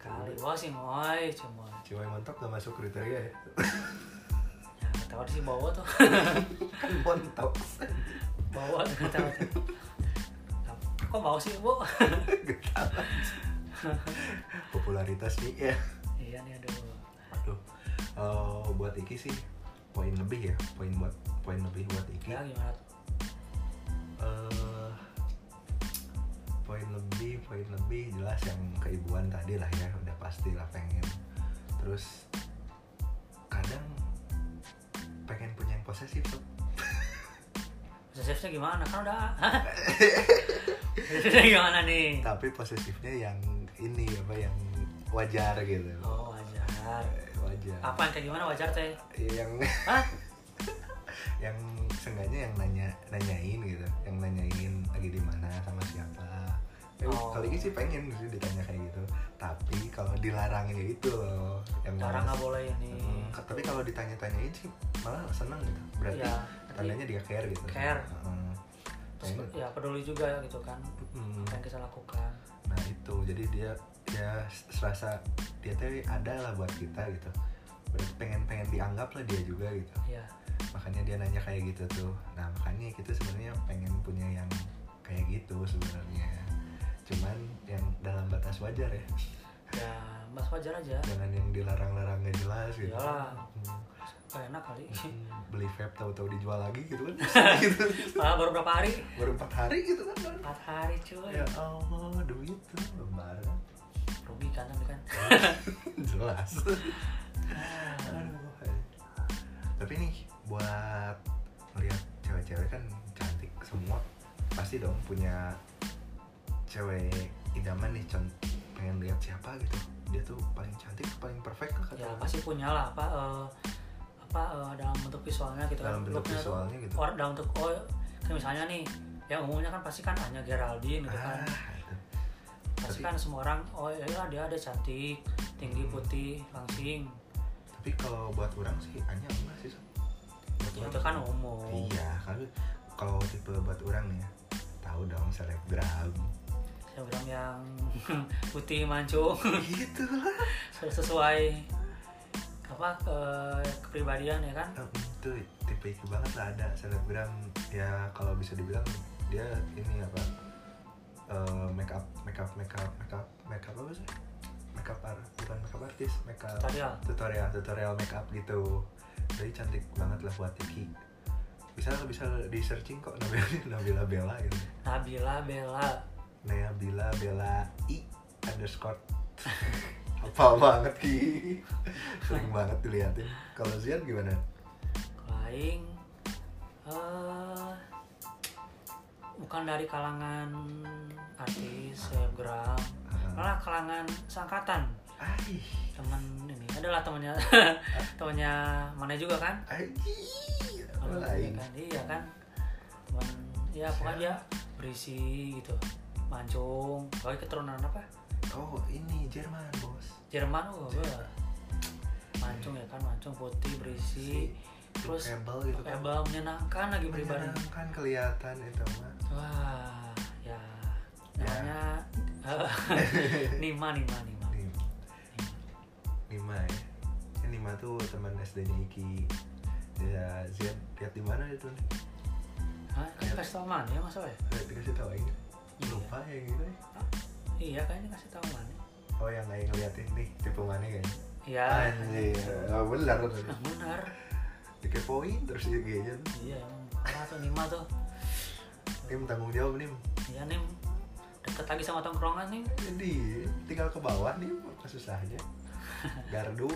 Speaker 2: kali wah sih moy cuma
Speaker 1: Cimoy Montok gak masuk kriteria ya.
Speaker 2: ya nggak tahu sih bawa tuh
Speaker 1: kan Montok.
Speaker 2: bawa tuh nggak tahu tuh. kok mau sih bu
Speaker 1: Gak tau aja. Popularitas nih ya.
Speaker 2: iya nih aduh
Speaker 1: Aduh, eh, buat Iki sih poin lebih ya, poin buat poin lebih buat Iki.
Speaker 2: ya gimana tuh
Speaker 1: Eh, poin lebih, poin lebih jelas yang keibuan tadi lah ya, udah pasti lah pengen. Terus kadang pengen punya yang posesif Sob.
Speaker 2: Posesifnya gimana? Kan udah. Posesifnya gimana nih?
Speaker 1: tapi posesifnya yang ini apa yang wajar gitu.
Speaker 2: Oh wajar.
Speaker 1: Eh, Wajar. Iya,
Speaker 2: Apa yang kayak gimana wajar teh?
Speaker 1: Yang
Speaker 2: Hah?
Speaker 1: yang seenggaknya yang nanya nanyain gitu yang nanyain lagi di mana sama siapa Eh,
Speaker 2: Oh.
Speaker 1: kali ini sih pengen sih ditanya kayak gitu tapi kalau dilarangin ya itu loh yang malas.
Speaker 2: Darah nggak boleh ini.
Speaker 1: Hmm, ke- tapi kalau ditanya-tanyain sih malah seneng gitu berarti
Speaker 2: Ya,
Speaker 1: tandanya dia care gitu
Speaker 2: Care.
Speaker 1: Heeh.
Speaker 2: terus,
Speaker 1: Pengen-
Speaker 2: ya peduli juga gitu kan.
Speaker 1: Hmm.
Speaker 2: Apa yang kita lakukan?
Speaker 1: nah itu jadi dia dia serasa dia tuh ada lah buat kita gitu Berarti pengen-pengen dianggap lah dia juga gitu
Speaker 2: Ya.
Speaker 1: makanya dia nanya kayak gitu tuh nah makanya kita sebenarnya pengen punya yang kayak gitu sebenarnya cuman yang dalam batas wajar ya
Speaker 2: Ya mas wajar aja.
Speaker 1: jangan yang dilarang-larang gak jelas gitu
Speaker 2: Iyalah.
Speaker 1: Hmm.
Speaker 2: Gak enak kali.
Speaker 1: Hmm, beli vape tahu-tahu dijual lagi gitu kan Bisa gitu
Speaker 2: Padahal baru berapa hari?
Speaker 1: baru empat hari gitu kan baru.
Speaker 2: Empat hari cuy.
Speaker 1: ya allah duit tuh lembaran
Speaker 2: Rugi kan tapi kan.
Speaker 1: jelas Aduh. tapi nih buat melihat cewek-cewek kan cantik semua pasti dong punya cewek idaman nih con- pengen lihat siapa gitu dia tuh paling cantik paling perfect lah kata
Speaker 2: Ya
Speaker 1: orang.
Speaker 2: pasti punya lah apa. eh, apa eh, dalam bentuk visualnya gitu
Speaker 1: dalam
Speaker 2: kan
Speaker 1: bentuk
Speaker 2: Looknya tuh
Speaker 1: visualnya gitu
Speaker 2: orang dalam bentuk oh kayak misalnya nih yang umumnya kan pasti kan hanya Geraldine gitu kan
Speaker 1: ah itu.
Speaker 2: pasti
Speaker 1: tapi-
Speaker 2: kan semua orang oh ya lah, dia ada cantik tinggi putih langsing
Speaker 1: tapi kalau buat orang sih hanya enggak sih Sob. buat
Speaker 2: Ya,
Speaker 1: orang
Speaker 2: itu kan umum
Speaker 1: iya kalau kalau tipe buat orang nih ya tahu dong selebgram
Speaker 2: saya bilang yang putih mancung
Speaker 1: gitu lah
Speaker 2: sesuai apa ke- kepribadian ya kan
Speaker 1: Em, Eh, itu tipe itu banget lah ada selebgram ya kalau bisa dibilang dia ini apa eh, make up make up make up make up make up apa sih make up art bukan make up artis make up
Speaker 2: tutorial
Speaker 1: tutorial tutorial make up gitu jadi cantik banget lah buat Tiki bisa bisa di searching kok Nabila Nabila Bella gitu
Speaker 2: Nabila Bella
Speaker 1: Nabila Bella I underscore apa banget ki sering banget diliatin kalau Zian gimana
Speaker 2: kalau Aing eh, bukan dari Ah. kalangan artis selebgram malah kalangan sangkatan
Speaker 1: Eh, Aih,
Speaker 2: temen ini adalah temennya temennya mana juga kan
Speaker 1: anjir,
Speaker 2: Temen
Speaker 1: lain.
Speaker 2: dia kan iya kan temen ya pokoknya dia berisi gitu mancung pokoknya keturunan apa
Speaker 1: Oh, ini Jerman, Bos.
Speaker 2: Jerman oh wah. mancung ya kan mancung putih berisi terus
Speaker 1: Rebel gitu
Speaker 2: pakai
Speaker 1: kan.
Speaker 2: bau menyenangkan lagi beribadah
Speaker 1: Menyenangkan kelihatan itu mah.
Speaker 2: wah ya
Speaker 1: Ya.
Speaker 2: namanya Nima Nima Nima
Speaker 1: Nim, Nima ya. Ini Nima tuh teman SD-nya Iki. Ya, Zed, lihat di mana itu?
Speaker 2: Hah, kan kasih tau mana ya masalah ya?
Speaker 1: Lihat dikasih tahu aja. Lupa ya gitu. ya.
Speaker 2: Iya kayaknya kasih tau mana
Speaker 1: Oh, yang lain ngeliatin nih, tipe mana kan?
Speaker 2: Iya
Speaker 1: Anjir, oh, bener.
Speaker 2: Nah, bener
Speaker 1: Dikepoin terus IG-nya.
Speaker 2: Iya emang parah tuh Nima tuh
Speaker 1: Nim tanggung jawab Nim.
Speaker 2: Iya Nim Deket lagi sama tongkrongan Nim
Speaker 1: Jadi tinggal ke bawah nih apa susahnya. Gardu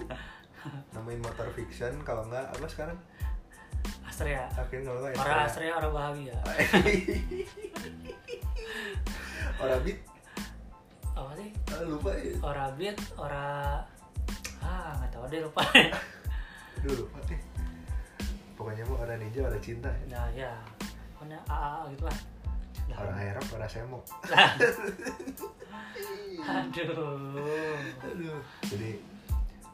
Speaker 1: nemuin motor fiction kalau nggak apa sekarang
Speaker 2: Astrea
Speaker 1: akhirnya kalau nggak ya
Speaker 2: Orang Astrea orang bahagia
Speaker 1: orang bit
Speaker 2: Apa sih?
Speaker 1: ah, lupa ya
Speaker 2: Ora beat, ora ah nggak tahu deh lupa.
Speaker 1: Aduh, lupa deh pokoknya mau orang ninja orang cinta ya.
Speaker 2: nah ya, pokoknya AA gitu lah. Nah,
Speaker 1: orang Arab orang semok
Speaker 2: aduh,
Speaker 1: Aduh. Jadi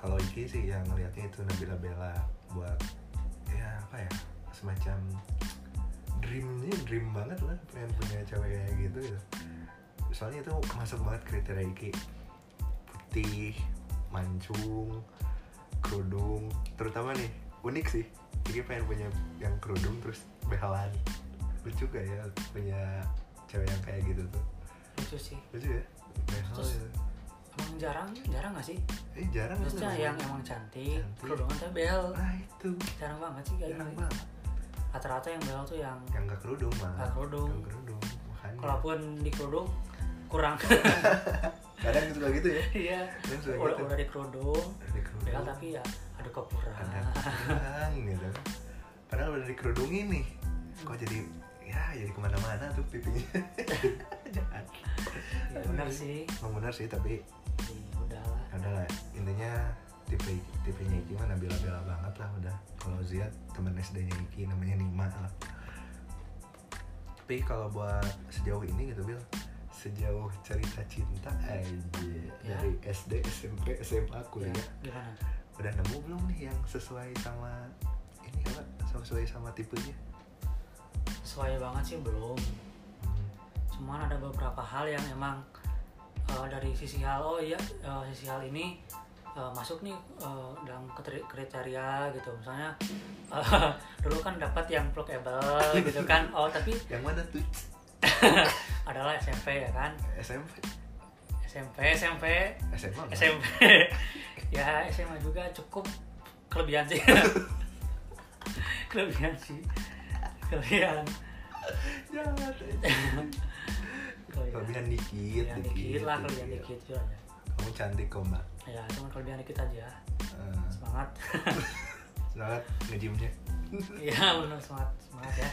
Speaker 1: kalau Iki sih yang ngelihatnya itu Nabila Bella buat ya apa ya semacam dreamnya dream banget lah pengen punya cewek kayak gitu gitu. Soalnya itu masuk banget kriteria Iki putih, mancung, kerudung, terutama nih unik sih. Iki pengen punya yang kerudung terus behelan. Lucu gak ya punya cewek yang kayak gitu tuh?
Speaker 2: lucu sih.
Speaker 1: Lucu ya? Behel
Speaker 2: Terus-
Speaker 1: gitu.
Speaker 2: Emang jarang, jarang nggak sih?
Speaker 1: Eh jarang kan
Speaker 2: Maksudnya
Speaker 1: temen-temen.
Speaker 2: yang emang cantik,
Speaker 1: Cantik.
Speaker 2: kerudungan tapi behel.
Speaker 1: Nah itu
Speaker 2: Jarang banget sih kayak
Speaker 1: jarang
Speaker 2: gitu.
Speaker 1: banget
Speaker 2: Rata-rata yang behel tuh yang
Speaker 1: Yang gak kerudung mah
Speaker 2: Nggak kerudung.
Speaker 1: Nggak kerudung Makanya
Speaker 2: kalaupun di kerudung kurang.
Speaker 1: Kadang suka gitu ya
Speaker 2: Iya.
Speaker 1: Kadang suka
Speaker 2: Udah,
Speaker 1: gitu
Speaker 2: udah di kerudung,
Speaker 1: Udah di kerudung
Speaker 2: behel tapi ya ada kekurangan.
Speaker 1: Ada kurang gitu Padahal udah dikerudungin nih Kok jadi Ya jadi kemana-mana tuh pipinya Jahat
Speaker 2: Ya, benar sih.
Speaker 1: Emang benar sih tapi
Speaker 2: Ya, udahlah.
Speaker 1: ya udah lah intinya tipe tipenya Iki mana bela-bela banget lah udah kalau Ziad temen SD-nya Iki namanya Nima lah tapi kalau buat sejauh ini gitu Bil sejauh cerita cinta aja
Speaker 2: Ya.
Speaker 1: dari SD SMP SMA kuliah
Speaker 2: Ya, gimana?
Speaker 1: udah nemu belum nih yang sesuai sama ini apa sesuai sama tipenya
Speaker 2: Sesuai banget sih belum.
Speaker 1: Hmm.
Speaker 2: cuman ada beberapa hal yang emang eh, dari sisi hal oh iya eh, sisi hal ini eh, masuk nih eh, dalam krite- kriteria gitu misalnya eh, dulu kan dapat yang pluggable gitu kan oh tapi
Speaker 1: yang mana tuh
Speaker 2: adalah SMP ya kan
Speaker 1: SMP
Speaker 2: SMP SMP
Speaker 1: SMA nggak?
Speaker 2: SMP ya SMA juga cukup kelebihan sih kelebihan sih kelebihan
Speaker 1: Jahat, eh.
Speaker 2: kelebihan
Speaker 1: kelebihan dikit
Speaker 2: kelebihan Ya, dikit lah kelebihan dikit juga ya
Speaker 1: kamu cantik kok mbak
Speaker 2: ya cuma kelebihan dikit aja
Speaker 1: Eh,
Speaker 2: semangat
Speaker 1: semangat ngejimnya
Speaker 2: iya benar semangat semangat ya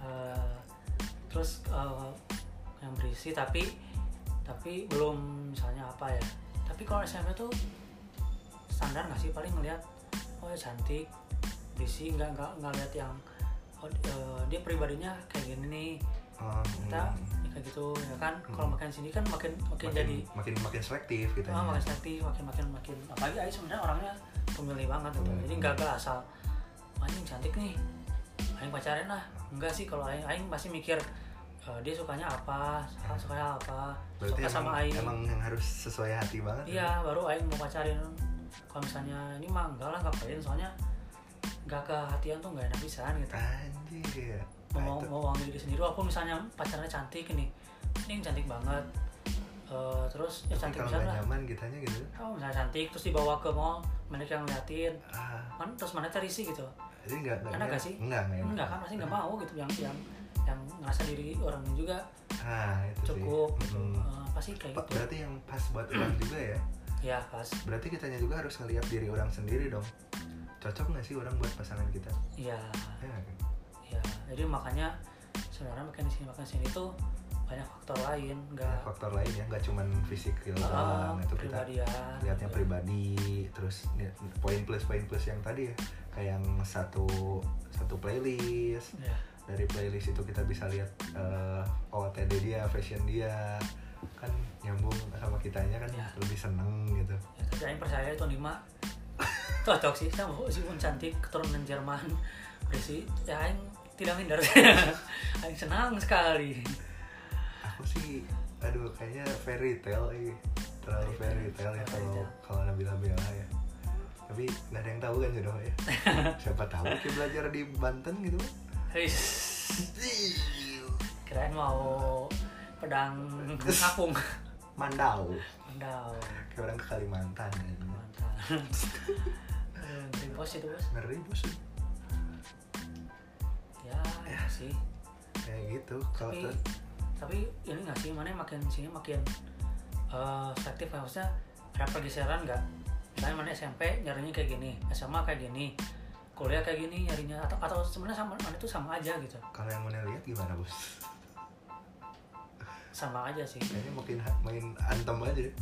Speaker 2: Eh, terus eh, yang berisi tapi tapi belum misalnya apa ya tapi kalau SMP tuh standar nggak sih paling ngelihat oh ya cantik berisi nggak nggak nggak lihat yang oh, eh, dia pribadinya kayak gini nih Hmm.
Speaker 1: Um,
Speaker 2: kita kayak gitu ya kan kalau
Speaker 1: Hmm.
Speaker 2: makin sini kan makin
Speaker 1: makin,
Speaker 2: makin, jadi
Speaker 1: makin makin selektif gitu
Speaker 2: Ah, makin selektif, makin makin makin apalagi Ayu sebenarnya orangnya pemilih banget gitu.
Speaker 1: Hmm.
Speaker 2: Jadi nggak nggak asal anjing cantik nih. Aing pacarin lah. Enggak sih kalau aing aing masih mikir eh, dia sukanya apa, suka sukanya apa,
Speaker 1: berarti
Speaker 2: suka
Speaker 1: emang,
Speaker 2: sama aing.
Speaker 1: emang yang harus sesuai hati banget ya?
Speaker 2: Iya, baru aing mau pacarin. Kalau misalnya ini mah enggak lah ngapain soalnya nggak kehatian tuh nggak enak pisan gitu.
Speaker 1: anjir Nah, Ah,
Speaker 2: Mau
Speaker 1: itu-
Speaker 2: mau uang diri sendiri walaupun misalnya pacarnya cantik ini. Ini cantik banget. Eh, terus ya
Speaker 1: tapi
Speaker 2: cantik
Speaker 1: kalau
Speaker 2: pisan
Speaker 1: nggak
Speaker 2: lah.
Speaker 1: nyaman kitanya gitu
Speaker 2: Oh, misalnya cantik terus dibawa ke mall, mana yang ngeliatin,
Speaker 1: ah
Speaker 2: kan terus mana cari sih gitu.
Speaker 1: jadi nggak nggak
Speaker 2: Enak nggak
Speaker 1: nyaman.
Speaker 2: sih?
Speaker 1: nggak nggak enak.
Speaker 2: Enggak kan pasti nggak mau gitu yang yang yang ngerasa diri orangnya juga
Speaker 1: ah itu
Speaker 2: cukup
Speaker 1: sih.
Speaker 2: gitu.
Speaker 1: Mm.
Speaker 2: Eh, pasti kayak
Speaker 1: Pa-
Speaker 2: gitu.
Speaker 1: berarti yang pas buat orang juga ya
Speaker 2: Ya pas.
Speaker 1: berarti kitanya juga harus ngelihat diri orang sendiri dong cocok nggak sih orang buat pasangan kita
Speaker 2: Ya,
Speaker 1: ya nggak?
Speaker 2: iya. ya. Jadi makanya sebenarnya makin di sini makin di sini tuh banyak faktor lain nggak
Speaker 1: Banyak faktor lain ya nggak cuman fisikal
Speaker 2: Ah,
Speaker 1: doang itu kita
Speaker 2: kepribadian
Speaker 1: lihatnya
Speaker 2: gitu.
Speaker 1: pribadi terus ni- poin plus poin plus yang tadi ya kayak yang satu satu playlist
Speaker 2: ya
Speaker 1: dari playlist itu kita bisa lihat eh, OOTD dia fashion dia kan nyambung sama kitanya kan
Speaker 2: Ya.
Speaker 1: lebih seneng gitu
Speaker 2: Ya, tapi saya percaya itu lima cocok sih sama si pun cantik keturunan Jerman berisi ya aing tidak minder aing senang sekali
Speaker 1: aku sih aduh kayaknya fairy tale eh. terlalu fairy tale
Speaker 2: Fairy tale,
Speaker 1: ya
Speaker 2: fairy
Speaker 1: kalau
Speaker 2: tale.
Speaker 1: kalau Nabila Bella ya tapi nggak ada yang tahu kan jodoh ya siapa tahu dia belajar di Banten gitu
Speaker 2: His, Iya. kirain mau pedang ngapung
Speaker 1: Mandau
Speaker 2: mandau
Speaker 1: kayak orang ke Kalimantan ya.
Speaker 2: mantap Eh, Green Boss itu bos
Speaker 1: ngeri bos
Speaker 2: ya ya sih
Speaker 1: kayak gitu kalau
Speaker 2: tapi tapi ini nggak sih mana makin sini makin eh selektif ya? maksudnya ada pergeseran nggak misalnya mana SMP nyarinya kayak gini SMA kayak gini kuliah kayak gini nyarinya atau atau sebenarnya sama mana itu sama aja gitu
Speaker 1: kalau yang mau lihat gimana bos
Speaker 2: sama aja sih
Speaker 1: kayaknya makin main antem aja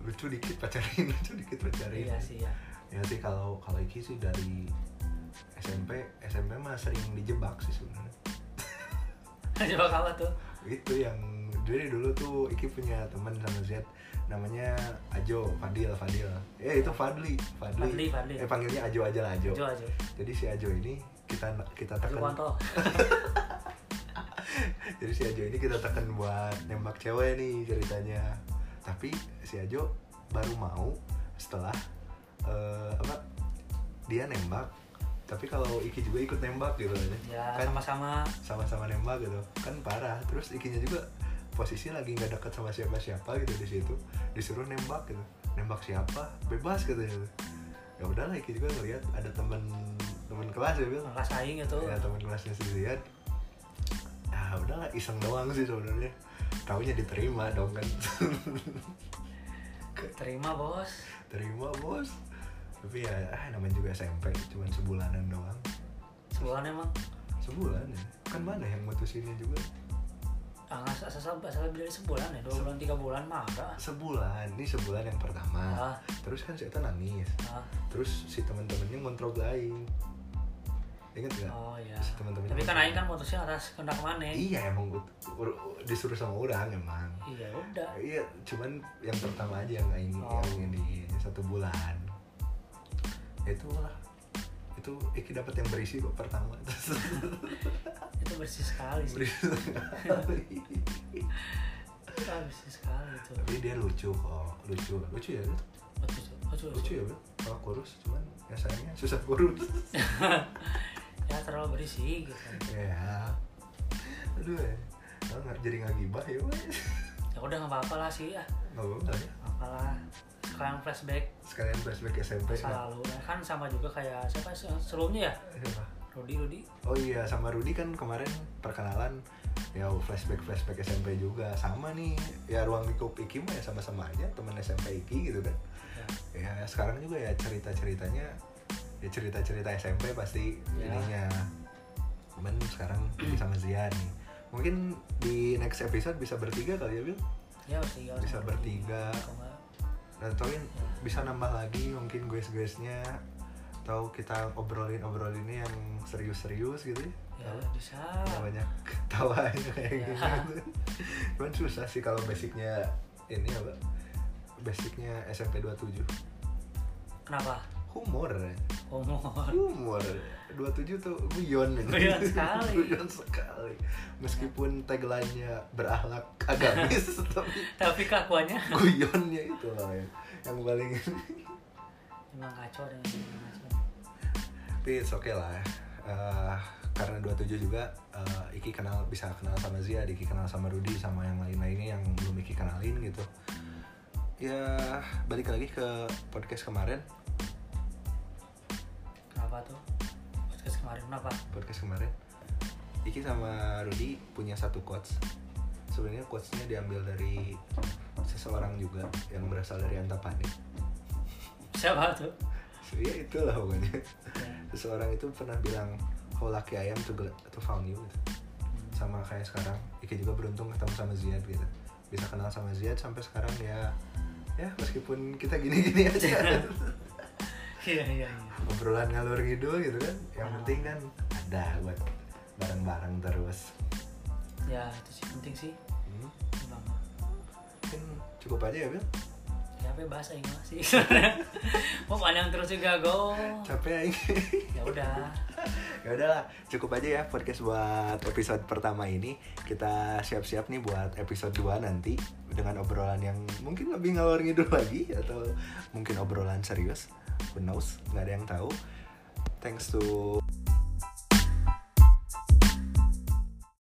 Speaker 1: lucu dikit pacarin lucu dikit pacarin
Speaker 2: iya sih ya
Speaker 1: ya sih kalau kalau Iki sih dari SMP SMP mah sering dijebak sih sebenarnya
Speaker 2: coba kalah tuh
Speaker 1: itu yang jadi dulu tuh Iki punya teman sama Z namanya Ajo Fadil Fadil eh itu Fadli Fadli,
Speaker 2: Fadli, Fadli.
Speaker 1: eh panggilnya Ajo aja lah Ajo
Speaker 2: Jo aja
Speaker 1: jadi si Ajo ini kita kita
Speaker 2: Jo
Speaker 1: tekan
Speaker 2: kontol
Speaker 1: jadi si Ajo ini kita tekan buat nembak cewek nih ceritanya tapi si Ajo baru mau setelah eh, apa dia nembak tapi kalau Iki juga ikut nembak gitu aja
Speaker 2: ya
Speaker 1: kan
Speaker 2: sama-sama
Speaker 1: sama-sama nembak gitu kan parah terus Ikinya juga posisi lagi nggak dekat sama siapa-siapa gitu di situ disuruh nembak gitu nembak siapa bebas katanya ya udahlah Iki juga ngeliat ada temen temen kelas ya bilang
Speaker 2: ngerasain gitu
Speaker 1: ya teman kelasnya si Zian ah udahlah iseng doang sih sebenarnya taunya diterima dong kan
Speaker 2: terima bos
Speaker 1: terima bos tapi ya ah, namanya juga SMP cuman sebulanan doang
Speaker 2: sebulan emang
Speaker 1: sebulan ya kan mana yang mutusinnya juga
Speaker 2: ah nggak asal asal lebih dari sebulan ya dua bulan tiga bulan mah enggak
Speaker 1: sebulan ini sebulan yang pertama
Speaker 2: Ah.
Speaker 1: terus kan si Eta nangis
Speaker 2: Ah.
Speaker 1: terus si teman-temannya ngontrol ke Aing inget gak
Speaker 2: Oh iya.
Speaker 1: Terus teman-teman-
Speaker 2: Tapi kan Aing kan mutusnya atas kendak mana?
Speaker 1: iya emang ut- ur- disuruh sama orang emang
Speaker 2: Iya udah.
Speaker 1: Iya, cuman yang pertama aja yang aing
Speaker 2: Oh.
Speaker 1: yang ini satu bulan. Ya Itu lah. Itu Iki dapat yang berisi kok pertama.
Speaker 2: Itu bersih sekali sih.
Speaker 1: berisi sekali.
Speaker 2: Itu kan bersih sekali itu.
Speaker 1: Tapi dia lucu kok, lucu, lucu ya, Bel?
Speaker 2: Lucu, lucu,
Speaker 1: lucu ya, Bel? Kalau kurus, cuman ya sayangnya susah kurus.
Speaker 2: Ya terlalu berisi gitu.
Speaker 1: ya, aduh ya, Kalau nggak jadi nggak gibah ya, wes.
Speaker 2: Ya udah nggak apa-apa lah sih ya.
Speaker 1: nggak apa-apa ya.
Speaker 2: Nggak apa lah. Sekarang flashback
Speaker 1: Sekalian flashback SMP.
Speaker 2: masa
Speaker 1: nggak?
Speaker 2: lalu Ya kan sama juga kayak siapa sih yang sebelumnya ya?
Speaker 1: Siapa?
Speaker 2: Rudi, Rudi.
Speaker 1: Oh iya, sama Rudi kan kemarin perkenalan ya flashback flashback SMP juga sama nih ya ruang lingkup Iki mah ya sama-sama aja teman SMP Iki gitu kan
Speaker 2: Ya.
Speaker 1: ya sekarang juga ya cerita ceritanya ya cerita cerita SMP pasti
Speaker 2: Ya.
Speaker 1: ininya cuman sekarang Iki sama Zian nih mungkin di next episode bisa bertiga kali ya Bil
Speaker 2: Ya bertiga.
Speaker 1: Bisa
Speaker 2: sama Rudi.
Speaker 1: bertiga.
Speaker 2: Atau nggak,
Speaker 1: atauin bisa nambah lagi mungkin guys-guysnya atau kita obrolin obrolinnya yang serius-serius gitu ya.
Speaker 2: Ya
Speaker 1: Tahu?
Speaker 2: bisa.
Speaker 1: banyak ketawanya kayak
Speaker 2: Ya.
Speaker 1: gitu cuman susah sih kalau basicnya ini apa basicnya SMP 27
Speaker 2: Kenapa?
Speaker 1: humor
Speaker 2: Humor.
Speaker 1: humor 27 tuh guyon gitu.
Speaker 2: Guyon sekali.
Speaker 1: guyon sekali meskipun tagline-nya berakhlak agamis tapi
Speaker 2: Tapi kelakuannya
Speaker 1: guyonnya itu loh yang, yang paling
Speaker 2: emang kacau dengan kacau.
Speaker 1: tapi it's okay lah Eh, karena 27 juga eh, Iki kenal bisa kenal sama Zia, Iki kenal sama Rudi sama yang lain-lainnya yang belum Iki kenalin gitu ya balik lagi ke podcast kemarin
Speaker 2: Kenapa tuh? Podcast kemarin kenapa?
Speaker 1: podcast kemarin Iki sama Rudi punya satu quotes sebenarnya quotesnya diambil dari seseorang juga yang berasal dari Antapani
Speaker 2: Siapa tuh?
Speaker 1: so, ya itulah pokoknya seseorang itu pernah bilang how lucky I am to, to found you gitu. sama kayak sekarang Iki juga beruntung ketemu sama Ziad gitu bisa kenal sama Ziad sampai sekarang ya ya meskipun kita gini-gini aja
Speaker 2: iya iya iya
Speaker 1: obrolan ngalur ngidul gitu kan yang
Speaker 2: Ah.
Speaker 1: penting kan ada buat bareng-bareng terus
Speaker 2: ya itu sih penting sih
Speaker 1: Hmm,
Speaker 2: bang
Speaker 1: mungkin cukup aja ya Bil
Speaker 2: ya apa ya, bahasa Inggris sih mau panjang terus juga go
Speaker 1: capek ya
Speaker 2: ya udah
Speaker 1: ya udahlah cukup aja ya podcast buat episode pertama ini kita siap-siap nih buat episode 2 nanti dengan obrolan yang mungkin lebih ngalor ngidul lagi atau mungkin obrolan serius who knows nggak ada yang tahu thanks to